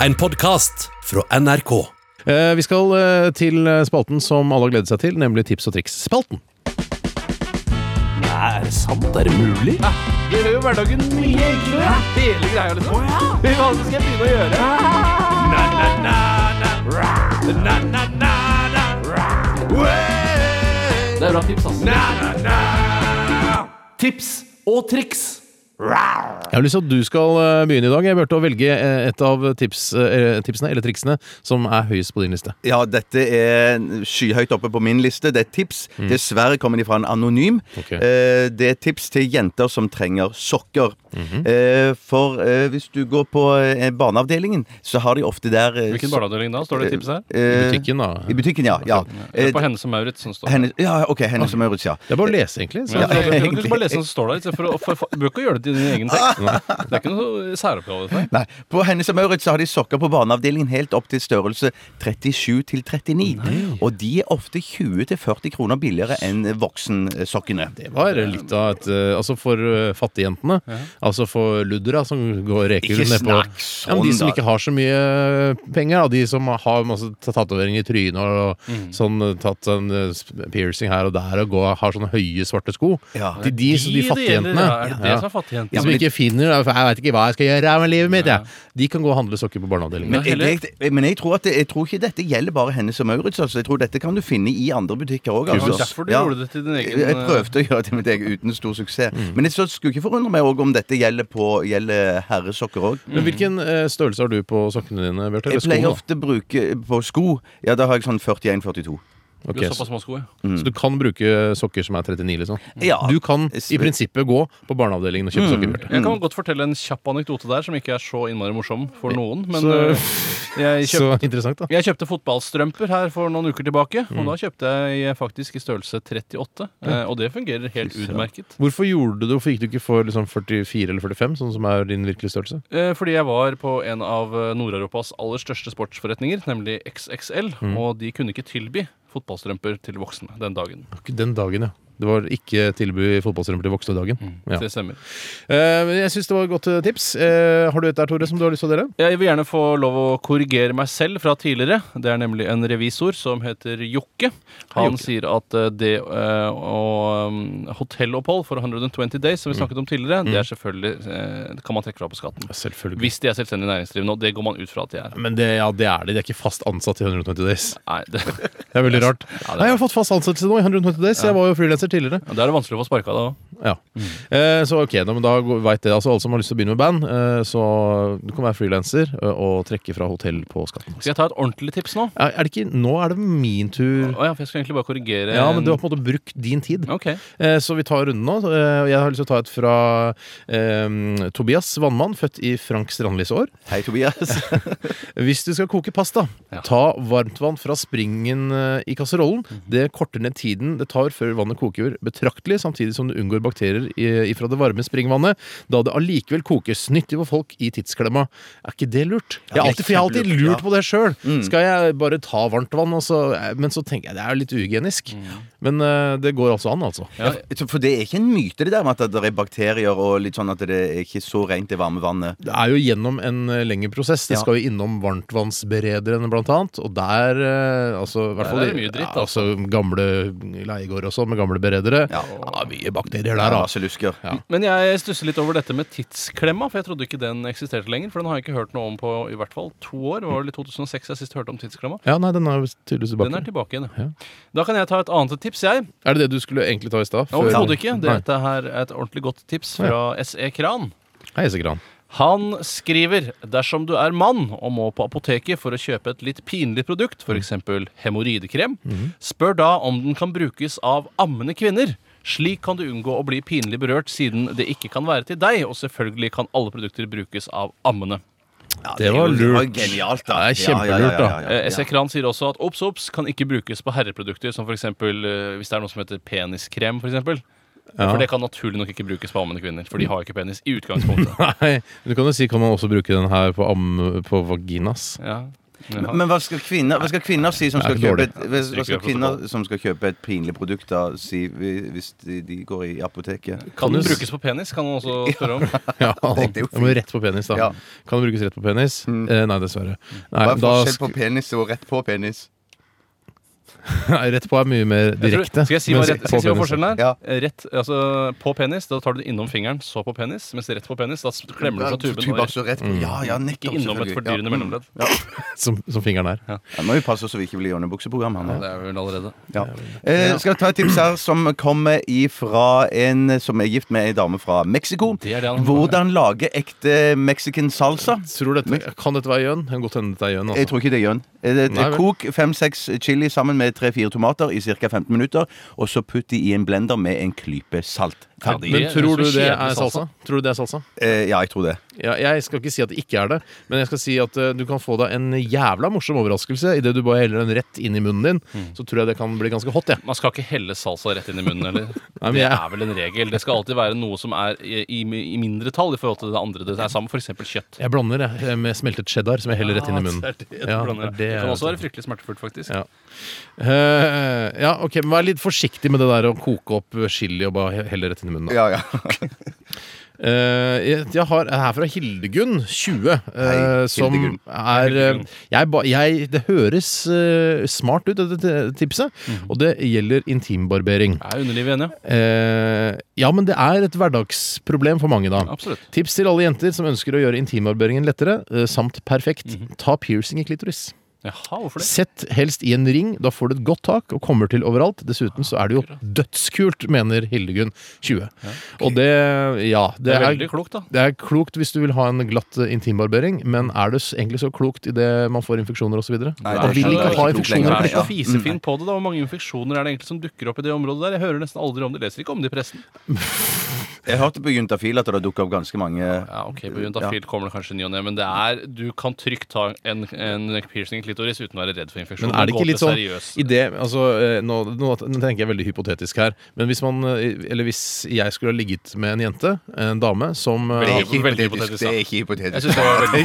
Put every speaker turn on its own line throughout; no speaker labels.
En podkast fra NRK.
Eh, Vi skal eh, til spalten som alle har gledet seg til, nemlig Tips og triks-spalten.
Er det sant? Er det mulig?
Det gjør jo hverdagen mye enklere. Hele greia, liksom. Fy faen, så skal jeg begynne å gjøre. Det er bra tips,
altså.
ass. Tips og triks.
Jeg har lyst til at du skal eh, begynne i dag. Jeg burde velge eh, et av tips, eh, tipsene eller triksene som er høyest på din liste.
Ja, dette er skyhøyt oppe på min liste. Det er et tips. Dessverre kommer de fra en anonym.
Ok.
Eh, det er et tips til jenter som trenger sokker. Eh, for eh, hvis du går på eh, barneavdelingen, så har de ofte der eh,
Hvilken barneavdeling da? Står det tipset her?
eh,
Butikken, da.
I butikken, ja. ja.
Det
Eh,
er på Hennes og Maurits som står
Hennes, ja, ok, Hennes og Maurits, ja.
Det er bare å lese, egentlig. Så.
Ja,
Ja,
så- du kan
egentlig.
ikke bare lese den som står der. i stedet For å, for, for, du bør ikke gjøre det til din egen tekst. Det er ikke noe særoppgave. for deg.
Nei, På Hennes og Maurits så har de sokker på barneavdelingen helt opp til størrelse 37 til 39. Og de er ofte 20 til 40 kroner billigere enn voksensokkene.
Det var litt av et eh, Altså for eh, fattigjentene. Altså for luddera som går reker
Ikke
nedpå.
snakk
Ja, men de
sånn,
som
da.
ikke har så mye eh, penger, da. De som har masse tatoveringer i trynet og, og sånn eh, tatt en eh, sp- piercing her og der og går, har sånne høye, svarte sko.
Ja.
De, de, de,
det gjelder,
fattigjentene.
ja. Er det det
ja.
som er fattigjentene?
De som ikke finner da, for Jeg veit ikke hva jeg skal gjøre med livet mitt, jeg. De kan gå og handle sokker på barneavdelingen.
Men-
Men,
heller-
jeg, jeg- men jeg, tror at det, jeg tror ikke dette gjelder bare Hennes og Maurits. Altså. Jeg tror dette kan du finne i andre butikker òg.
Det var
Altså.
derfor du
Ja.
gjorde det til din egen
Jeg prøvde å gjøre det mitt eget uten stor suksess. Men jeg så skulle ikke forundre meg også om dette gjelder, på, gjelder herresokker òg.
Men hvilken eh, størrelse har du på sokkene dine, Bjarte?
Jeg
Eller skoene,
pleier
da?
ofte å bruke på sko Ja, da har jeg sånn 41-42.
Ok, Mm.
Du har
så,
såpass små sko, ja.
så du kan bruke sokker som er 39, liksom?
Ja.
Du kan i
Sve-
prinsippet gå på barneavdelingen og kjøpe sokker, Bjarte.
Jeg kan godt fortelle en kjapp anekdote der som ikke er så innmari morsom for noen. Men
Så-
øh, jeg,
Så
kjøpte,
interessant, da.
jeg kjøpte fotballstrømper her for noen uker tilbake.
Mm.
Og da kjøpte jeg faktisk i størrelse 38, eh, og det fungerer helt utmerket.
Hvorfor gjorde du det? Hvorfor gikk du ikke for liksom 44 eller 45, sånn som er din virkelige størrelse?
Eh, Fordi jeg var på en av eh, Nord-Europas aller største sportsforretninger, nemlig XXL,
Mm.
og de kunne ikke tilby fotballstrømper til voksne den dagen.
Ak- Den dagen, ja. Mm. Det var ikke tilbud i fotballstrømper til voksne-dagen. Ja.
Det stemmer.
Eh, men jeg syns det var et godt eh, tips. Eh, har du et der, Tore, som du har lyst til å dele?
Jeg vil gjerne få lov å korrigere meg selv fra tidligere. Det er nemlig en revisor som heter Jokke. Han
Jokke.
sier at eh, det eh, å um, hotellopphold for 120
Mm.
days, som vi snakket om tidligere, det er selvfølgelig eh, det kan man trekke fra på skatten.
Selvfølgelig.
Hvis de er selvstendig næringsdrivende, og det går man ut fra at de er.
Men det, ja, det er de. De er ikke fast ansatt i 120 Days.
Nei, det,
Det er veldig rart.
det er-
Nei, jeg har fått fast ansettelse nå i 120 Days. Jeg var jo frilanser tidligere.
da er det vanskelig å få sparka da òg.
Ja. Eh, så ok, da, men da veit det. Altså, alle som har lyst til å begynne med band, eh, så du kan være frilanser eh, og trekke fra hotell på skatten.
Skal jeg ta et ordentlig tips nå?
Er, er det ikke, nå er det min tur.
Å ja, for jeg skulle egentlig bare korrigere
Ja, men du har
en-
på en måte brukt din tid.
Ok.
Eh, Så vi tar runden nå. Eh, og Jeg har lyst til å ta et fra eh, Tobias Vannmann, født i Frank Strandlis år.
Hei, Tobias.
Hvis du skal koke pasta,
Ja.
ta varmtvann fra springen eh, i kasserollen.
Mhm.
Det korter ned tiden det tar før vannet koker betraktelig, samtidig som du unngår bakterier i- ifra det varme springvannet, da det allikevel kokes. Nyttig for folk i tidsklemma. Er ikke det lurt? Jeg har
det er
alltid, for jeg har alltid
kjempelurt,
lurt
ja. Mm.
på det sjøl. Skal jeg bare ta varmtvann, og så Eh, Men så tenker jeg det er jo litt uhygienisk.
Mm.
Men eh, det går altså an, altså.
Ja,
Så- For det er ikke en myte, det der med at det er bakterier og litt sånn at det er ikke så rent det varme vannet.
Det er jo gjennom en eh, lengre prosess. Det
Ja.
skal jo innom varmtvannsberederne, blant annet. Og der eh, altså, i hvert
Der
fall
er det
i-
mye dritt,
ja, altså. gamle leiegård og sånn, med gamle beredere. Ja.
Ja.
mye bakterier der, altså.
Ja,
da.
masse lusker.
Men jeg stusser litt over dette med tidsklemma, for jeg trodde ikke den eksisterte lenger. For den har jeg ikke hørt noe om på i hvert fall to år. Det var vel i 2006 jeg sist hørte om tidsklemma.
Ja, nei, den er jo tydeligvis
Den
tilbake.
er tilbake igjen.
Ja.
ja. Da kan jeg ta et annet tips, jeg.
er, det det du skulle egentlig ta i stad? før-
Overhodet ikke.
Nei.
Dette her er et ordentlig godt tips fra SE Kran.
Hei, Segran.
Han skriver dersom du er mann og må på apoteket for å kjøpe et litt pinlig produkt,
Mm.
f.eks. hemoroidekrem, spør da om den kan brukes av ammende kvinner. Slik kan du unngå å bli pinlig berørt, siden det ikke kan være til deg. Og selvfølgelig kan alle produkter brukes av ammende.
Ja,
Det var
jo- det
lurt.
Genialt, da.
Det er kjempelurt, da.
Eh, SE Kran sier også at obs, obs kan ikke brukes på herreprodukter, som f.eks. Eh, hvis det er noe som heter peniskrem, f.eks. For,
Ja.
for det kan naturlig nok ikke brukes på ammende kvinner, for de har jo ikke penis i utgangspunktet.
Nei, men du kan jo si kan man også bruke den her på, am på vaginas.
ja.
Men, men hva, skal kvinner, hva skal kvinner si som skal
Det er
kjøpe
dårlig.
et, hva hva skal
Stryker vi
kvinner som skal kjøpe et pinlig produkt, da, si vi- hvis de, de går i apoteket?
Kan den
du s-
brukes på penis, kan man også spørre om.
Ja,
tenkte jo
det må jo rett på penis, da.
Ja.
Kan det brukes rett på penis?
Mm.
Eh, nei, dessverre. Nei,
Hva er
da,
forskjell
sk-
på penis og rett på penis?
nei, rett på er mye mer
Jeg tror-
direkte.
Skal jeg si
men
hva,
s-
rett, skal jeg si hva
på penis-
forskjellen er?
Ja.
Rett, altså, på penis, da tar du det innom fingeren, så på penis. Mens rett på penis, da s- klemmer du fra tuben og
Tubakk så rett
Mm.
på. Ja, ja,
ikke
nettopp.
innom et
selvfølgelig. Ja.
fordyrende
mm.
mellomledd.
Som, som fingeren er.
Ja, nå må vi passe oss så vi ikke blir underbukseprogram. her nå.
Det er vel allerede.
Ja. Eh, skal jeg ta et tips her som kommer ifra en som er gift med ei dame fra Mexico.
Det er det han-
Hvordan lage ekte mexican salsa.
Tror dette, kan dette være gjøn? Kan godt hende dette er gjøn.
Jeg
Altså.
tror ikke det gjør den. Eh, det-
Nei vel.
Kok fem-seks chili sammen med tre-fire tomater i ca. 15 minutter. Og så putt de i en blender med en klype salt. Ferdig.
Ja,
Men
det
tror
høres
du
jo
det
kjedelig
er
salsa.
salsa? Tror du det er salsa?
Eh, ja, jeg tror det.
Ja, jeg skal ikke si at det ikke er det, men jeg skal si at eh, du kan få deg en jævla morsom overraskelse idet du bare heller den rett inn i munnen din.
Mm.
Så tror jeg det kan bli ganske hot, jeg.
Man skal ikke helle salsa rett inn i munnen, eller?
Nei, men
det
jeg-
er vel en regel. Det skal alltid være noe som er i, i, i mindretall i forhold til det andre. Det er sammen f.eks. kjøtt.
Jeg blander jeg, eh, med smeltet cheddar, som jeg heller rett inn i munnen.
Ja, Ah, det, er det, du
Ja,
blander.
det
det
er
kan også
det.
være fryktelig smertefullt, faktisk.
Ja. Eh, ja, ok, men Vær litt forsiktig med det der å koke opp chili og bare he- helle rett inn i munnen. da.
Ja, ja.
Eh, jeg, jeg har her fra Hildegunn, 20, eh,
Hei,
som
Hildegunn.
er eh, jeg, ba- jeg, Det høres eh, smart ut, dette tipset, og det gjelder intimbarbering.
Er underlivet enig?
Eh, ja, men det er et hverdagsproblem for mange, da.
Absolutt.
Tips til alle jenter som ønsker å gjøre intimbarberingen lettere, eh, samt perfekt. Ta piercing i klitoris.
Jaha, hvorfor det?
Sett helst i en ring, da får du et godt tak og kommer til overalt. Dessuten så er det jo dødskult, mener Hildegunn 20. Og det Ja, det
Det er
er
veldig klokt, da.
det er klokt hvis du vil ha en glatt eh, intimbarbering, men er det s- egentlig så klokt idet man får infeksjoner osv.?
Nei,
Man
det er
vil
ikke
ikke ha infeksjoner.
klokt
liksom.
lenger.
Vær så
Ja.
fisefin på det, da. Hvor mange infeksjoner er det egentlig som dukker opp i det området der? Jeg hører nesten aldri om det. Leser ikke om det i pressen.
Jeg hørte på Juntafil at det dukka opp ganske mange
Ja, ok, på Juntafil kommer det kanskje ny og ne, men det er, du kan trygt ta en, en piercing i klitoris uten å være redd for infeksjon.
Men er det
Gå
ikke litt
til
sånn
seriøs-
i det, altså, eh, nå, nå tenker jeg veldig hypotetisk her, men hvis man eh, Eller hvis jeg skulle ha ligget med en jente, en dame, som eh,
Veldig
har-
hypotetisk.
Det
Veldig hypotetisk, ja.
er ikke
Jeg
hypotetisk.
synes det var veldig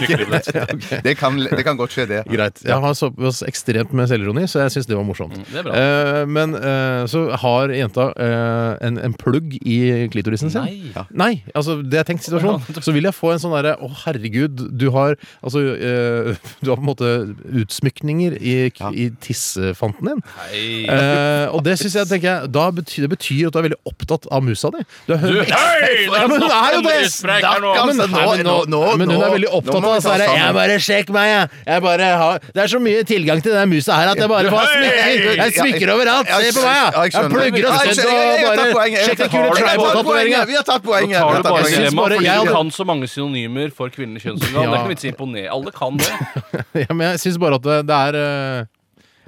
fryktelig.
Det kan, det kan godt skje, det.
Greit. Jeg har såpass ekstremt med selvironi, så jeg syns det var morsomt.
Mm, det er bra.
Eh, men eh, så har jenta eh, en, en plugg i klitorisen sin.
Nei. Ja.
Nei, altså det er tenkt situasjon. Så vil jeg få en sånn derre Å, herregud, du har altså eh, Du har på en måte utsmykninger i, i tissefanten din.
Nei.
Eh, og det syns jeg tenker jeg da betyr, Det betyr at du er veldig opptatt av musa di. Du er
Du,
høy-
hei!
Ja, men hun er jo det!
Spreik her nå.
Ja, men,
Altså, nå-
nei, men nå,
nå-
men hun
nå-
er veldig
nå
opptatt
må
av
vi
det.
ta
her,
sammen.
Jeg bare sjekk meg, jeg. jeg bare har, det er så mye tilgang til den musa her at jeg bare får smykker. Jeg smykker overalt. Se på meg,
Ja,
jeg.
skjønner.
Jeg plugger og
Ja, jeg skjønner. Jeg- jeg har
støtter
tatt
og
poenget.
bare
Jeg
Sjekk den
har
kule
tatt poenget.
tribal-tatoveringa.
Vi har tatt
Nå
poenget.
tar
Vi har
du
tatt
bare
Jeg synes
poenget.
dilemma,
bare-
fordi
jeg-
du kan så mange synonymer for kvinnelig kjønnsorgan. Det
Ja.
er ikke noe vits i å imponere. Alle kan det.
Ja, men jeg syns bare at det, det er eh,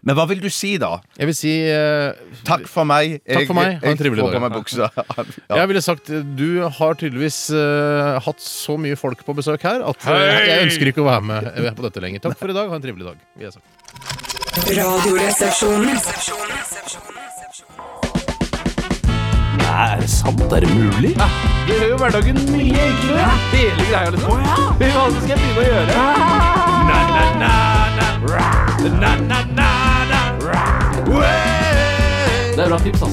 Men hva vil du si, da?
Jeg vil si eh,
Takk for meg.
Takk for meg. Ha en
Jeg, jeg
trivelig
får
dag.
på meg buksa. Ja.
Jeg ville sagt du har tydeligvis eh, hatt så mye folk på besøk her at eh, jeg ønsker ikke å være med eh, på dette lenger. Takk for i dag. Ha en trivelig dag. vil jeg si.
Radioresepsjonen.
Nei, er det sant? Er det mulig?
Det gjør jo hverdagen mye enklere. Hele greia, liksom. Fy faen, så skal jeg begynne å gjøre? Det er bra tips,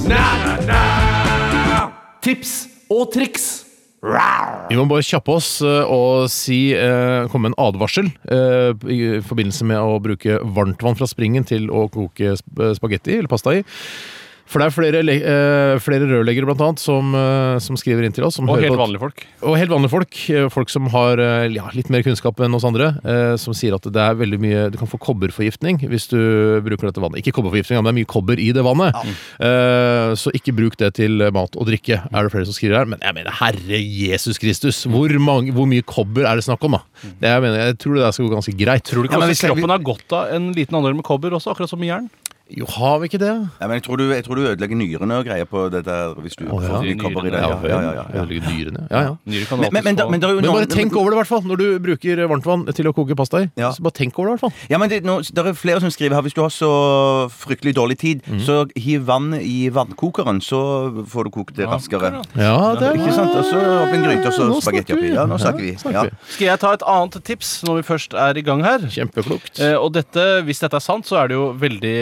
ass. Tips og triks.
Vi må bare kjappe oss eh, og si, eh, komme med en advarsel eh, i forbindelse med å bruke varmtvann fra springen til å koke sp eh, spagetti eller pasta i. For det er flere, le- eh, flere rørleggere blant annet som, eh, som skriver inn til oss. Som
Og
hører
helt
på-
vanlige folk.
Og helt vanlige folk, eh, folk som har eh, ja, litt mer kunnskap enn oss andre, eh, som sier at det er veldig mye Du kan få kobberforgiftning hvis du bruker dette vannet. Ikke kobberforgiftning, men det er mye kobber i det vannet. Eh, Så ikke bruk det til mat og drikke, er det flere som skriver her. Men jeg mener, herre Jesus Kristus, hvor, mange, hvor mye kobber er det snakk om, da? Det jeg, mener, jeg tror det der skal gå ganske greit.
Tror
Ja,
du ikke
men
også
hvis jeg-
kroppen har godt av en liten andel med kobber også, akkurat som med jern?
Jo, har vi ikke det?
Nei, men jeg tror, du, jeg tror du ødelegger nyrene og greier på det der hvis du
ja.
får de kopper i deg.
Ja,
Ja, ja, ja, ja.
Ødelegger dyrene. Ja, ja.
Nyre kan
Men,
alltid
men, men, da-
få-
men det er jo
Men
noen-
bare tenk over det, i hvert fall. Når du bruker varmtvann til å koke pasta i.
Ja.
Så bare tenk over det, i hvert fall.
Ja, men det, nå, det er flere som skriver her Hvis du har så fryktelig dårlig tid, så hiv vann i vannkokeren, så får du kokt det raskere.
Ja, det
Ikke sant? Og så opp en gryte, og så
Nå snakker
spagetti oppi.
vi.
Ja, nå snakker vi. Ja.
snakker
Skal jeg ta et annet tips når vi først er i gang her?
Kjempeklokt.
Eh, og dette, hvis dette er sant, så er det jo veldig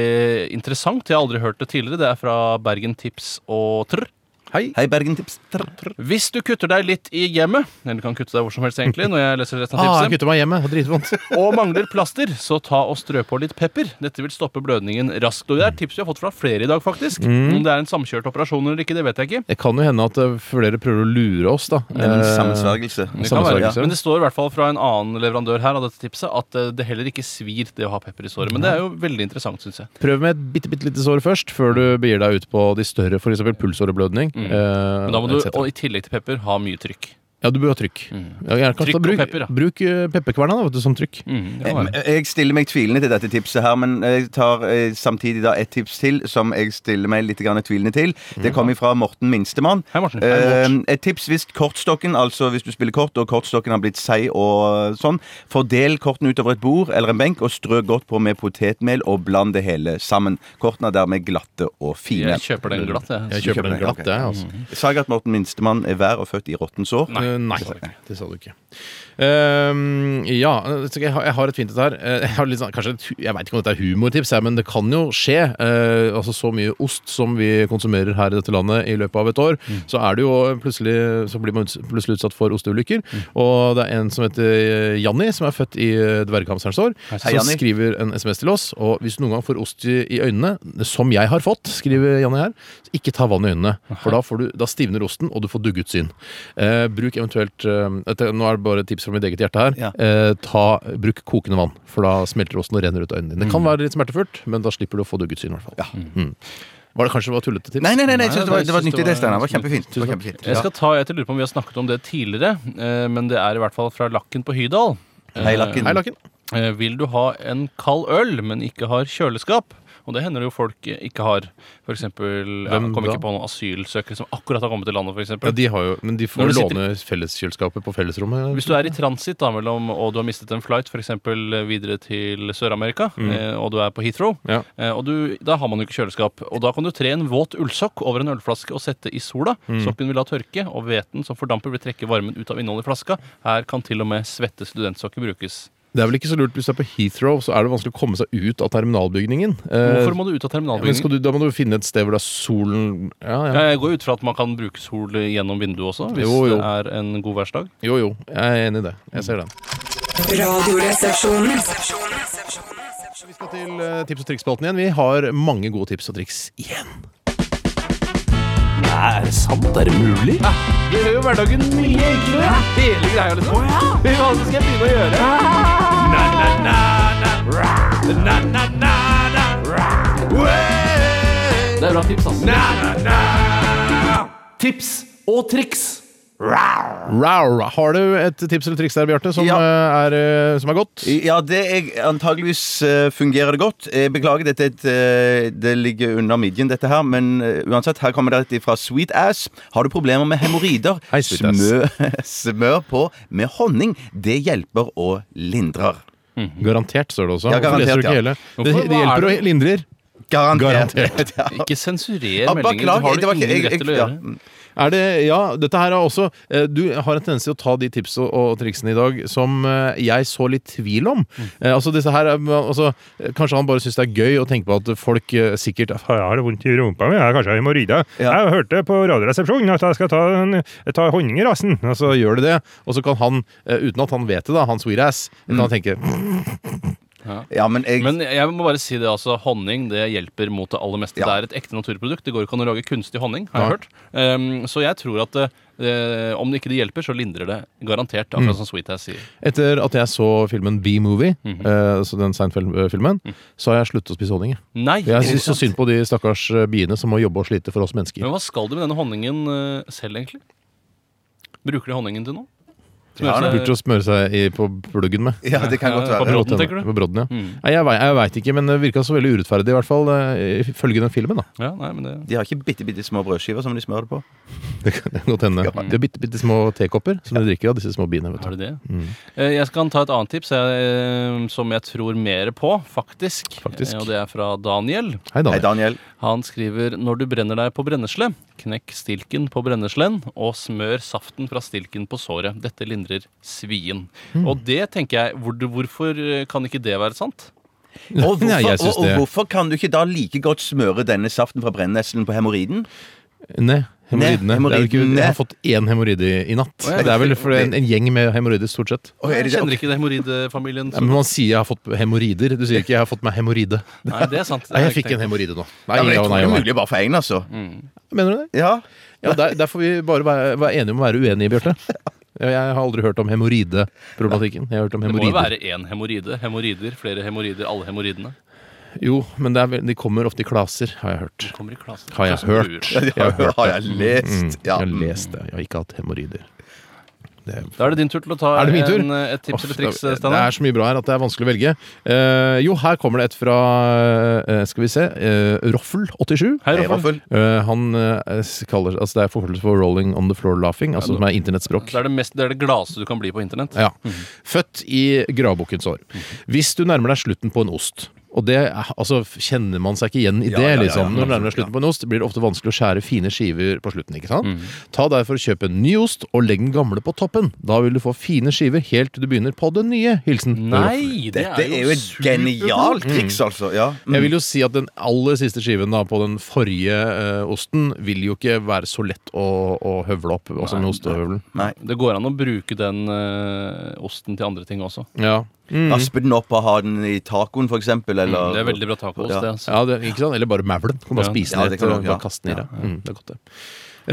interessant. Jeg har aldri hørt det tidligere. Det er fra Bergen Tips og Trr.
Hei.
Hei, Bergen Tips. Trr, trr.
Hvis du kutter deg litt i hjemmet, eller du kan kutte deg hvor som helst egentlig, når jeg leser resten
Ah,
av
jeg
tipset,
kutter meg hjemme. Har dritvondt.
og mangler plaster, så ta og strø på litt pepper. Dette vil stoppe blødningen raskt. Og det er et tips vi har fått fra flere i dag, faktisk. Om det er en samkjørt operasjon eller ikke, det vet jeg ikke.
Det kan jo hende at eh, flere prøver å lure oss, da.
En
Eh,
sammensvergelse.
Det kan være,
Sammensvergelse.
Men det står i hvert fall fra en annen leverandør her av dette tipset at eh, det heller ikke svir det å ha pepper i såret. Men det er jo veldig interessant, syns jeg.
Prøv med et bitte, bitte lite sår først, før du begir deg ut på de større, f.eks. pulsåreblødning. Mm.
Men da må du, og i tillegg til pepper, ha mye trykk.
Ja, du bør ha trykk. Ja, gjerne kanskje da
Trykk og
bruk,
pepper, da.
Bruk eh, pepperkverna da, vet du, som trykk.
Mm, det kan være.
Jeg jeg stiller meg tvilende til dette tipset her, men jeg tar eh, samtidig da et tips til som jeg stiller meg litt grann tvilende til. Det kommer fra Morten Minstemann.
Hei, Morten.
Eh,
Hei, Morten.
et tips hvis kortstokken, altså hvis du spiller kort og kortstokken har blitt seig og sånn, fordel kortene utover et bord eller en benk og strø godt på med potetmel og bland det hele sammen. Kortene er dermed glatte og fine.
Jeg kjøper den glatt, jeg.
Jeg kjøper
kjøper
den glatt,
den,
jeg,
Mm.
altså.
Sa jeg at Morten Minstemann er vær og født i råttent sår?
Eh, Nei, det sa du ikke. Ehm, ja, så jeg har jeg har et fint et her. Eh, Jeg, har litt sånn, kanskje, et hu- jeg vet ikke om dette er humortips, her, men det kan jo skje. Eh, altså Så mye ost som vi konsumerer her i dette landet i løpet av et år, så er det jo plutselig Så blir man uts- plutselig utsatt for osteulykker. Og det er en som heter eh, Janni, som er født i eh, dverghamsterens år, som
Janni.
skriver en SMS til oss. Og hvis du noen gang får ost i, i øynene, som jeg har fått, skriver Janni her, så ikke ta vann i øynene. For da, får du, da stivner osten, og du får duggutsyn. Eh, bruk eventuelt eh, dette, Nå er det bare et tips fra mitt eget hjerte her.
Ja.
Eh, ta, bruk kokende vann, for da smelter osten og renner ut av øynene dine. Det kan være litt smertefullt, men da slipper du å få duggutsyn, i hvert fall. Mm. Var det kanskje bare tullete tips?
Nei, nei, nei, nei, jeg synes det var,
jeg
det var
synes
nyttig
det var-
det, Steinar. Det var kjempefint. Det var kjempefint.
Jeg skal ta, jeg til lurer på om vi har snakket om det tidligere, eh, men det er i hvert fall fra Lakken på Hydal. Eh,
Hei, Lakken.
Hei, Lakken.
eh, Vil du ha en kald øl, men ikke har kjøleskap? Og det hender det jo folk eh, ikke har. For eksempel, ja,
Hvem
jeg kom
da?
ikke på noen asylsøkere som akkurat har kommet til landet, for
Ja,
eksempel.
de har jo, men de får
Når du
låne felleskjøleskapet på fellesrommet.
Hvis du er i transitt da, mellom, og du har mistet en flight, f.eks. videre til Sør-Amerika,
Mm.
eh, og du er på Heathrow,
Ja.
eh, og du, da har man jo ikke kjøleskap. Og da kan du tre en våt ullsokk over en ølflaske og sette i sola.
Mm.
Sokken vil la tørke, og hveten som fordamper vil trekke varmen ut av innholdet i flaska. Her kan til og med svette studentsokker brukes.
Det er vel ikke så lurt hvis du er på Heathrow, så er det vanskelig å komme seg ut av terminalbygningen. Eh,
Hvorfor må du ut av
ja, men skal
terminalbygningen?
du, da må du finne et sted hvor det er solen ja, ja.
Eh, Jeg går ut fra at man kan bruke sol gjennom vinduet også, hvis
Jo, jo.
det er en god værsdag.
Jo, jo, jeg er enig i det. Jeg ser den.
Radioresepsjonen.
Vi skal til eh, tips og triks-spalten igjen. Vi har mange gode tips og triks igjen.
Nei, er det sant? Er det mulig?
Det gjør jo hverdagen mye enklere. Hele greia liksom. Fy faen, så skal jeg begynne å gjøre. Na, na, na, na. Na, na, na, na. Det er bra tips, ass. Na, na, na. Tips og triks.
Rau. Har du et tips eller triks der, Bjarte, som,
Ja.
eh, er, eh, som er godt?
Ja, det er, antageligvis eh, fungerer det godt. Jeg beklager, dette, er et, eh, det ligger under midjen, dette her. Men eh, uansett, her kommer det et fra Sweet Ass. Har du problemer med hemoroider,
Hei, Sweet Ass.
smør, smør på med honning. Det hjelper og lindrer.
Garantert, står det også.
Ja,
Hvorfor
garantert,
leser du ikke
ja.
hele? Det,
Hvorfor? Hva
det
er
hjelper
det?
og lindrer.
Garantert.
Garantert.
Ikke sensurer
Ja,
meldingen. Det
beklager,
har du
det var ikke
ingen
jeg,
rett til
jeg,
å
ja.
gjøre.
Er det, ja, dette her er også eh, Du har en tendens til å ta de tips og, og triksene i dag som eh, jeg så litt tvil om. Eh, altså disse her, er- altså, eh, Kanskje han bare syns det er gøy å tenke på at folk eh, sikkert
Har Jeg har vondt i rumpa mi, jeg har kanskje hemoroide.
Ja.
Jeg hørte på Radioresepsjonen at jeg skal ta, en, ta honning i rassen.
Og så
Altså.
gjør de det, og så kan han, eh, uten at han vet det, da, han sweet-ass,
Mm.
kan han tenke
Ja, men jeg,
Men jeg må bare si det, altså. Honning det hjelper mot det aller meste.
Ja.
Det er et ekte naturprodukt. Det går ikke an å lage kunstig honning, har jeg hørt. Um, så jeg tror at eh, om det ikke det hjelper, så lindrer det garantert. Akkurat
Mm.
som Sweet Ass sier.
Etter at jeg så filmen B-movie,
Mhm.
eh, så den Seinfeld-filmen,
Mm.
så har jeg sluttet å spise honning. jeg.
Nei!
Jeg
ikke
syns så
sant?
synd på de stakkars eh, biene som må jobbe og slite for oss mennesker.
Men hva skal du med denne honningen eh, selv, egentlig? Bruker de honningen til noe? Smøre seg-
Burde å smøre seg i, på pluggen med.
Ja, det kan godt
Ja,
være.
på brodden,
Godt hende.
tenker du?
På brodden, ja.
Mm.
Nei, jeg, vei- jeg veit ikke, men det virka så veldig urettferdig, i hvert fall eh, ifølge den filmen. da
Ja, nei, men det...
De har ikke bitte, bitte små brødskiver som de smører det på.
Det kan godt hende. De har bitte, bitte små tekopper som de drikker av disse små biene.
Har
vet du.
du det?
Mm.
Eh, Jeg skal ta et annet tips eh, som jeg tror mer på, faktisk.
Faktisk.
Eh, Og det er fra Daniel.
Hei,
Hei,
Daniel.
Daniel.
Han skriver når du brenner deg på brennesle, knekk stilken på brenneslen og smør saften fra stilken på såret. Dette lindrer svien. Og det tenker jeg, hvor, hvorfor eh, kan ikke det være sant?
Og hvorfor,
Nei, jeg synes
og, og
det-
hvorfor kan du ikke da like godt smøre denne saften fra brenneslen på hemoroiden?
Nei. Hemoroidene.
Nei,
Det er jo ikke-
hemoroidene.
Jeg har fått én hemoroide i, i natt.
Å, ja.
Det er vel for en, en gjeng med hemoroider, stort sett.
Å, er
Jeg
det det?
kjenner ikke det hemoroidefamilien.
Nei, men man sier 'jeg har fått hemoroider'. Du sier ikke 'jeg har fått meg hemoroide'.
Nei, det er sant. Det
Nei,
har
jeg fikk
ikke
en
tenkt
hemoroide nå.
Ja,
Nei,
men jeg
ja,
tror
nei,
det er
ja, nei.
mulig bare for én, altså.
Mener du det?
Ja.
Ja, der, der får vi bare være, være enige om å være uenige, Bjarte. Jeg har aldri hørt om hemoroideproblematikken. Jeg har hørt om
på. Det må jo
hemoroider.
være én hemoroide. Hemoroider, flere hemoroider, alle hemoroidene.
Jo, men det er, vel- de kommer ofte i klaser, har jeg hørt.
Kommer i klassen.
Har jeg
Klassen
hørt.
buer.
Jeg har hørt
Har jeg
Mm, jeg
lest? Ja.
har lest det. Jeg har ikke hatt hemoroider. Det
Da er det din tur til å ta
Er det min tur?
en, eh, et tips eller
Åh,
triks,
det- Det er
Steinar.
så mye bra her at det er vanskelig å velge. Eh, jo, her kommer det et fra eh, Skal vi se eh, Roffel87.
Hei,
Hei,
Raffel.
Raffel.
Eh, han eh, s- kaller Altså, det er forfølgelse for 'rolling on the floor laughing', altså som er internettspråk.
Det er Mhm. det, mest, det er det gladeste du kan bli på internett.
Ja. Født i gravbukkens år.
Mhm.
Hvis du nærmer deg slutten på en ost og det, altså, Kjenner man seg ikke igjen i det?
ja, ja,
liksom. Når du nærmer deg slutten på en ost, blir det ofte vanskelig å skjære fine skiver på slutten. ikke
Mhm.
sant? Ta derfor og kjøp en ny ost og legg den gamle på toppen. Da vil du få fine skiver helt til du begynner på den nye. Hilsen
Nei, det
Dette er jo et
superbra.
genialt triks, altså. Ja.
Jeg vil jo si at den aller siste skiven da, på den forrige eh, osten vil jo ikke være så lett å, å høvle opp. Altså med ostehøvelen.
Mm. Nei.
Det går an å bruke den eh, osten til andre ting også.
Ja.
Aspe den opp og ha den i tacoen, for eksempel. Eller,
Det er veldig bra tacoost,
Ja.
det. Altså.
Ja, det, ikke sant? Eller bare mævlen. Kan bare
Ja.
spise
Ja,
den
det
rett
kan
og
du- ja.
bare kaste den i deg. Mm, det er godt, det.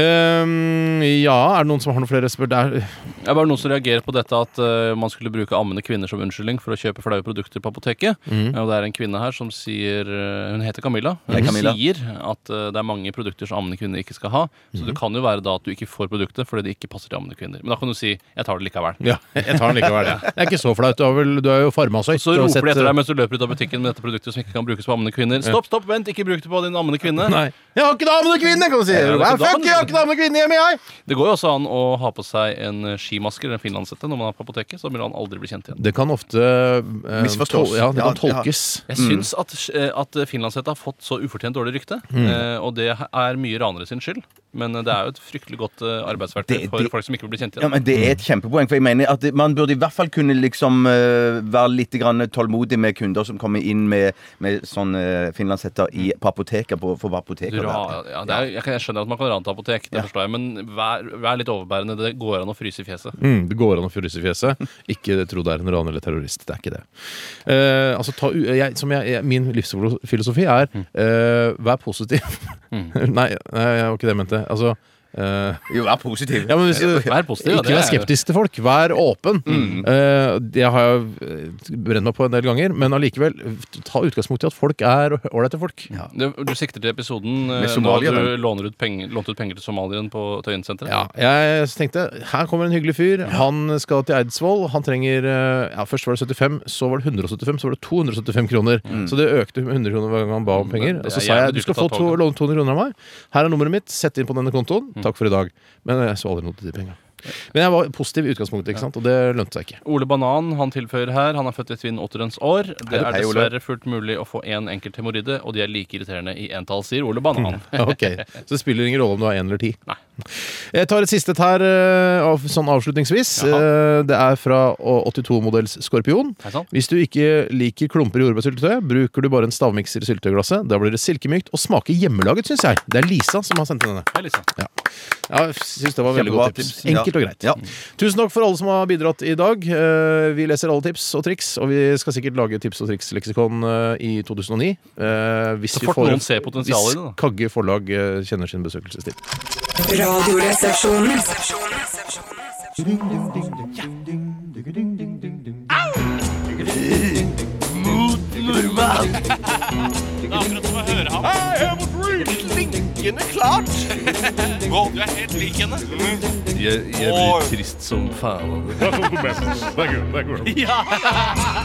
Ehm, ja, er det noen som har noen flere spør... Det er,
Det er bare noen som reagerer på dette at eh, man skulle bruke ammende kvinner som unnskyldning for å kjøpe flaue produkter på apoteket.
Mhm.
Eh, og det er en kvinne her som sier eh, Hun heter Camilla. Hun
Hei, Camilla.
sier at eh, det er mange produkter som ammende kvinner ikke skal ha. Så
Mhm.
det kan jo være da at du ikke får produktet fordi det ikke passer til ammende kvinner. Men da kan du si 'jeg tar det likevel'.
ja, jeg tar den likevel. jeg. Det er ikke så flaut. Du, har vel, du er jo farmasøyt.
Så
du har
roper de
sett,
etter
eh,
deg mens du løper ut av butikken med dette produktet som ikke kan brukes på ammende kvinner. Stopp, stopp, vent, ikke bruk det på din ammende kvinne.
Nei. 'Jeg har ikke dame og kvinne!' kan du si.
Ja, det er
Nei,
ikke
fuck,
dame-
jeg har ikke dame og kvinne hjemme, jeg!
Det går jo også an å ha på seg en eh, skimaske eller en finlandshette når man er på apoteket, så vil han aldri bli kjent igjen.
Det kan ofte eh,
Misforstås.
tol- Ja, det
Ja,
kan tolkes.
Jeg
Mm.
syns at, eh, at finlandshette har fått så ufortjent dårlig rykte,
Mm.
eh, og det er mye ranere sin skyld. Men eh, det er jo et fryktelig godt eh, arbeidsverktøy
Det-
for
det-
folk som ikke vil bli kjent
Ja,
igjen.
men Det er et kjempepoeng. for jeg mener at det- Man burde i hvert fall kunne liksom eh, være litt grann tålmodig med kunder som kommer inn med, med sånne finlandshetter i, på apoteket. På, for apoteket
Dra, ja, det er, jeg, kan- jeg skjønner at man kan rane til apotek, det forstår jeg, men vær, vær litt overbærende. Det går an å fryse i fjeset.
Mm, det går an å fryse i fjeset. Ikke tro det er en raner eller terrorist. Det er ikke det. Eh, altså, ta, u- jeg, som jeg, jeg, min livsfilosofi er
Mm.
eh, vær positiv. nei, nei, det var ikke det jeg mente. Altså eh,
Jo, vær positiv.
ja, men hvis, du-
Vær positiv. ja,
ikke
det
vær
er- Mm.
skeptisk til folk. Vær åpen. Eh, det har jeg eh, brent meg på en del ganger, men allikevel, ta utgangspunkt i at folk er ålreite folk. Ja.
Du, du sikter til episoden
Med
eh, nå
Somalia,
du låner ut penger, lånte ut penger til somalieren på Tøyensenteret?
Ja, jeg tenkte her kommer en hyggelig fyr. Han skal til Eidsvoll. Han trenger eh, ja, Først var det 75, så var det 175, så var det 275 kroner. Så det økte med 100 kroner hver gang han ba om penger.
Mm. det er
Og så sa
jævlig
jeg du
dyrt
skal
å
få
ta
to,
toget.
låne 200 kroner av meg. Her er nummeret mitt. Sett inn på denne kontoen.
Mm.
Takk for i dag. Men jeg så aldri noe til de penga. Men jeg var positiv i utgangspunktet, ikke sant? og det lønte seg ikke.
Ole Banan han tilføyer her han er født i Tvinn åtterens år. Det er
Hei, Ole.
dessverre fullt mulig å få én enkelt hemoroide, og de er like irriterende i entall, sier Ole Banan.
Ok, Så det spiller ingen rolle om du har én eller ti. Jeg tar et siste et her eh, av, sånn avslutningsvis. Eh, Det er fra 82-modells Skorpion.
Hei sann.
Hvis du ikke liker klumper i jordbærsyltetøy, bruker du bare en stavmikser i syltetøyglasset. Da blir det silkemykt og smaker hjemmelaget, syns jeg. Det er Lisa som har sendt inn denne.
Hei, Lisa.
Ja, jeg synes det var veldig
Kjempebra
godt tips.
tips. Ja.
Enkelt og greit.
Ja.
Tusen takk for alle som har bidratt i dag. Eh, Vi leser alle tips og triks, og vi skal sikkert lage tips og triks-leksikon eh, i 2009. eh, Hvis
Så
vi
fort
får-
noen ser potensialet i det, da.
Hvis Kagge forlag eh, kjenner sin besøkelsestid.
Radioresepsjonen.
Nordmann!
henne, klart! du er helt lik henne. Jeg, blir trist som faen. Ja!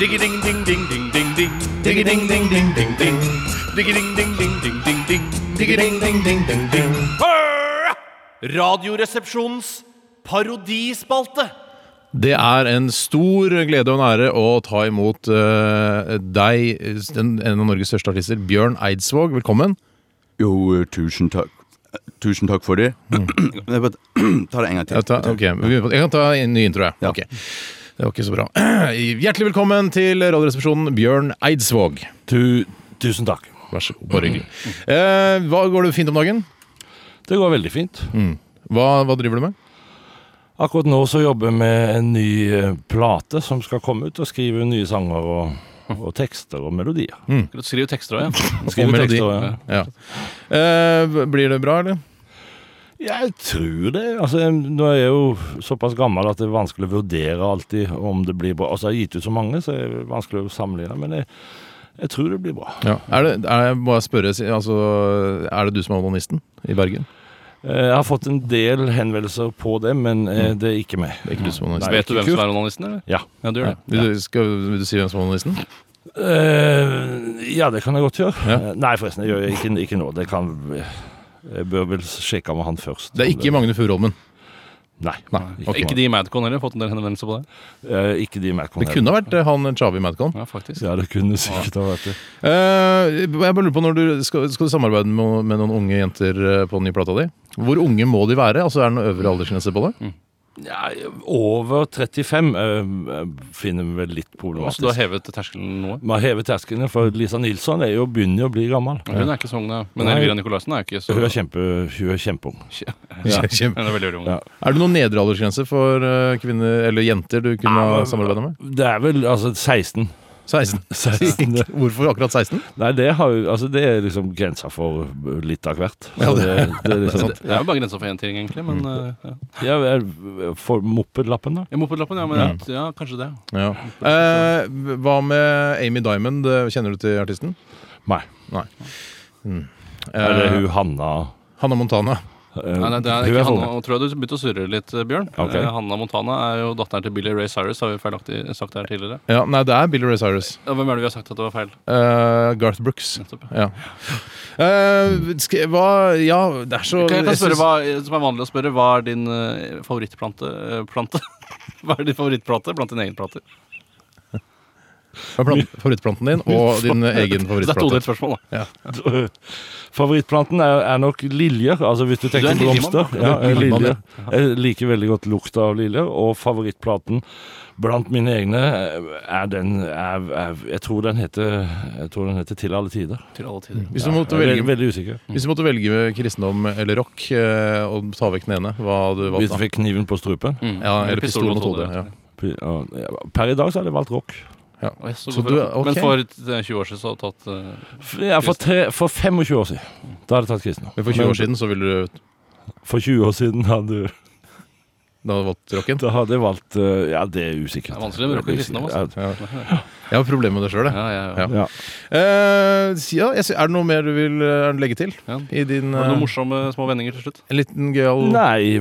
Diggi-ding-ding-ding-ding-ding-ding. Diggi-ding-ding-ding-ding-ding. Diggi-ding-ding-ding-ding-ding. Diggi-ding-ding-ding-ding-ding. Hurra! Radioresepsjonens parodispalte.
Det er en stor glede og en ære å ta imot eh, deg, den, en av Norges største artister, Bjørn Eidsvåg. Velkommen.
Jo, eh, tusen takk. Eh, Tusen takk for det. Jeg bare Ta det en gang til.
Jeg, tar, ok, vi- jeg kan ta en ny intro, jeg.
Ja.
Ok. Det var ikke så bra. Hjertelig velkommen til Radioresepsjonen, Bjørn Eidsvåg.
Tusen takk.
Vær så god. Bare hyggelig. Eh, hva går det fint om dagen?
Det går veldig fint.
Hva, hva driver du med?
Akkurat nå så jobber jeg med en ny eh, plate som skal komme ut, og skrive nye sanger og, og tekster og melodier.
Skriv tekster òg, ja.
Skrive
Og melodi.
tekster, ja.
Ja. Eh, blir det bra, eller?
Jeg tror det. Altså, jeg- nå er jeg jo såpass gammel at det er vanskelig å vurdere alltid om det blir bra. Altså, jeg har gitt ut så mange, så det er vanskelig å sammenligne, men jeg, jeg tror det blir bra.
Ja. Er det, er, må jeg spørre, si- altså, er det du som er onanisten i Bergen?
Eh, Jeg har fått en del henvendelser på det, men eh,
Mm.
det er ikke meg.
Det er ikke du som er onanisten.
Vet du hvem som er onanisten, eller?
Ja.
Ja, du gjør det.
Vil du, skal, vil du si hvem som er onanisten?
Eh, ja, det kan jeg godt gjøre.
Ja.
Eh, Nei, forresten, jeg gjør det ikke, ikke nå. Det kan Jeg bør vel sjekke med han først.
Det er ikke Magne Furuholmen.
Nei.
Ok.
Ikke de i Madcon heller? Fått en del henvendelser på det?
Eh, ikke de mer
Det kunne ha vært eh, han Chavi Madcon.
Ja, faktisk.
Ja, det kunne sikkert ha vært det.
Eh, jeg bare lurer på når du skal, skal du samarbeide med, med noen unge jenter eh, på den nye plata di? Hvor unge må de være? Altså, Er det noen øvre aldersgrense på
Mm.
det?
Ja, over 35 eh, finner vi vel litt
Så du har
problematisk.
hevet terskelen noe?
Vi har hevet terskelen, for Lisa Nilsson er jo begynner jo å bli gammel.
Hun er ikke så ung, da. Men
Nei.
Elvira Nicolaisen er ikke så
Hun er, kjempe, hun er kjempeung.
Ja, kjempe.
Hun er veldig, veldig ung.
Ja.
Er det noen nedre aldersgrense for eh, kvinner eller jenter du kunne ha samarbeida med?
Det er vel altså 16.
16.
16.
Hvorfor akkurat 16?
Nei, det, har, jo- altså, det er liksom grensa for litt av hvert. Så
Ja, det-
det, det er liksom,
Det er jo bare grensa for én ting, egentlig. Men eh, ja.
ja, er- for mopedlappen, da.
Ja, Mopedlappen, ja. Men ja. ja, kanskje det.
Ja. Eh, hva med Amy Diamond? Eh, Kjenner du til artisten?
Nei.
Eh,
Eller hun Hanna
Hanna Montana.
eh,
Nei, nei, det er
hun
ikke
for
Hanna,
meg.
og tror jeg du begynte å surre litt, eh, Bjørn.
Ok.
Eh, Hanna Montana er jo datteren til Billy Ray Cyrus, har vi feilaktig sagt her tidligere.
Ja, nei, det er Billy Ray Cyrus.
Ja, hvem er det vi har sagt at det var feil?
Eh, Garth Brooks.
Nettopp.
Ja. Eh, sk hva Ja, det er så
Kan jeg kan
jeg
spørre
syns-
hva, som er vanlig å spørre, hva er din eh, favorittplante eh, plante? Hva er din favorittplate blant dine egne plater?
hva er plan- favorittplanten din og din eh, egen
Det er et todelt
favorittplate.
spørsmål, da.
Favorittplanten er, er nok liljer. Altså hvis du tenker
Du er en
blomster.
Du
liljemann.
Ja,
er en liljemann,
liljer. Jeg liker veldig godt lukta av liljer, og favorittplaten blant mine egne er den er, er, Jeg tror den heter Jeg tror den heter Til alle tider.
Til alle tider.
Hvis du måtte
Jeg er veldig,
velge,
veldig usikker.
hvis du måtte velge kristendom eller rock eh, og ta vekk den ene, hva hadde du
Hvis du
valgt da?
fikk kniven på strupen.
Mm.
Ja, eller pistol mot hodet. Ja.
P- ja, Per i dag så hadde jeg valgt rock.
Oi, så
Så
god
du
for-
er- ok.
Men for eh, 20 år siden så har du tatt eh,
F- Ja, for, tre, for 25 år siden. Da hadde jeg tatt kristne.
Men for 20 år siden så ville du
For 20 år siden hadde du
Da hadde du valgt rocken?
Da hadde jeg valgt eh, Ja, det er usikkert.
Det er vanskelig med rock og kristendom, altså.
Ja. Jeg har problemer med det sjøl, jeg.
Ja, ja, ja.
Ja.
Ja.
Eh, ja, jeg sy- er det noe mer du vil eh, legge til?
Ja.
I din
Var det
eh,
noen morsomme små vendinger til slutt?
En liten gøyal
Nei,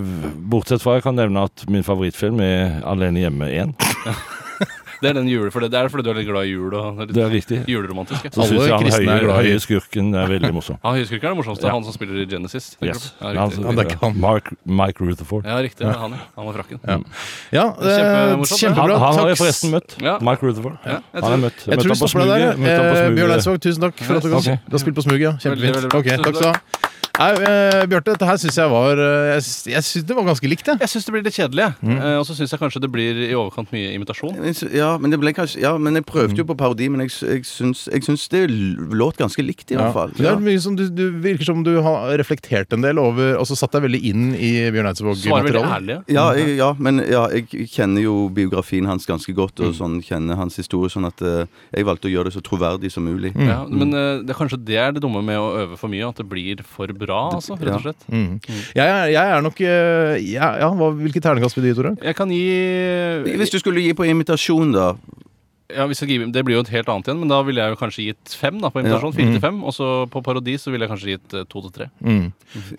bortsett fra jeg kan nevne at min favorittfilm er 'Alene hjemme 1'.
Det er den jule, for det, det er fordi du er litt glad i jul og det
Det
er
er riktig.
litt juleromantisk. Ja.
Så syns jeg han
kristne er
høye,
glad i-
høye skurken er veldig morsom.
Ja, Høyskrykker er det morsomste.
Ja.
Han som spiller i Genesis. tenker
Yes.
du? Ja, riktig.
Ja, det er ikke han.
Mark, Mike Rutherford.
Ja, riktig. Det er han, ja. Han med frakken.
Ja. Ja,
Det er
eh,
kjempemorsomt, det.
Han,
kjempebra.
han har jeg
Takk.
forresten møtt.
Ja.
Mike Rutherford.
Ja, jeg
Han har
tror-
jeg møtt.
Jeg tror
møtte
vi
han på
stopper deg der.
smuget- møtte han på
Eh, Bjørn
smuget.
Eidsvåg, tusen takk for at du,
Ok.
du har spilt på smuget. ja. Kjempefint.
Veldig, veldig bra.
Ok, takk skal du ha. Nei, eh, Bjarte, dette her syns jeg var eh, Jeg, sy- jeg syns det var ganske likt, jeg.
Jeg syns det blir litt kjedelig, jeg. Eh, og så syns jeg kanskje det blir i overkant mye imitasjon.
Ja, men det ble kanskje Ja, men jeg prøvde jo på parodi, men jeg, s- jeg, syns, jeg syns det låt ganske likt, i hvert fall.
Det er mye som du, du virker som du har reflektert en del over, og så satt deg veldig inn i Bjørn
Svarer veldig
Eidsvåg-materialet.
ærlig.
Ja, jeg, ja, men ja, jeg kjenner jo biografien hans ganske godt, og sånn kjenner hans historie, sånn at eh, jeg valgte å gjøre det så troverdig som mulig.
Mm.
Ja, men eh, det er kanskje det er det dumme med å øve for mye, at det blir for bra, altså, rett og
Ja.
slett.
Mm. Jeg, er- jeg er nok eh, jeg, Ja, hva, hvilke terningkast vil du gi, Tore?
Jeg kan gi
Hvis du skulle gi på imitasjon, da
ja, hvis jeg gir, Det blir jo et helt annet igjen, men da ville jeg jo kanskje gitt fem. da, på invitasjon, Fire
Mm.
til fem. Og så på parodi så ville jeg kanskje gitt eh, to til tre.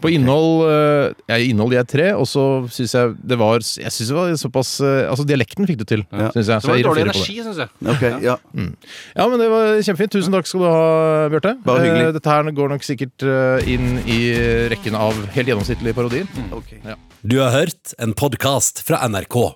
På innhold eh, jeg, innhold jeg er tre, og så syns jeg det var Jeg synes det var såpass eh, Altså, dialekten fikk du til, syns jeg.
Det
Så jeg
var litt
gir en
dårlig
firer på det.
energi, syns jeg.
Ok, ja.
Ja, men det var kjempefint. Tusen takk skal du ha, Bjarte.
Bare hyggelig.
Eh, Dette her går nok sikkert eh, inn i rekken av helt gjennomsnittlige parodier.
Du har hørt en podkast fra NRK.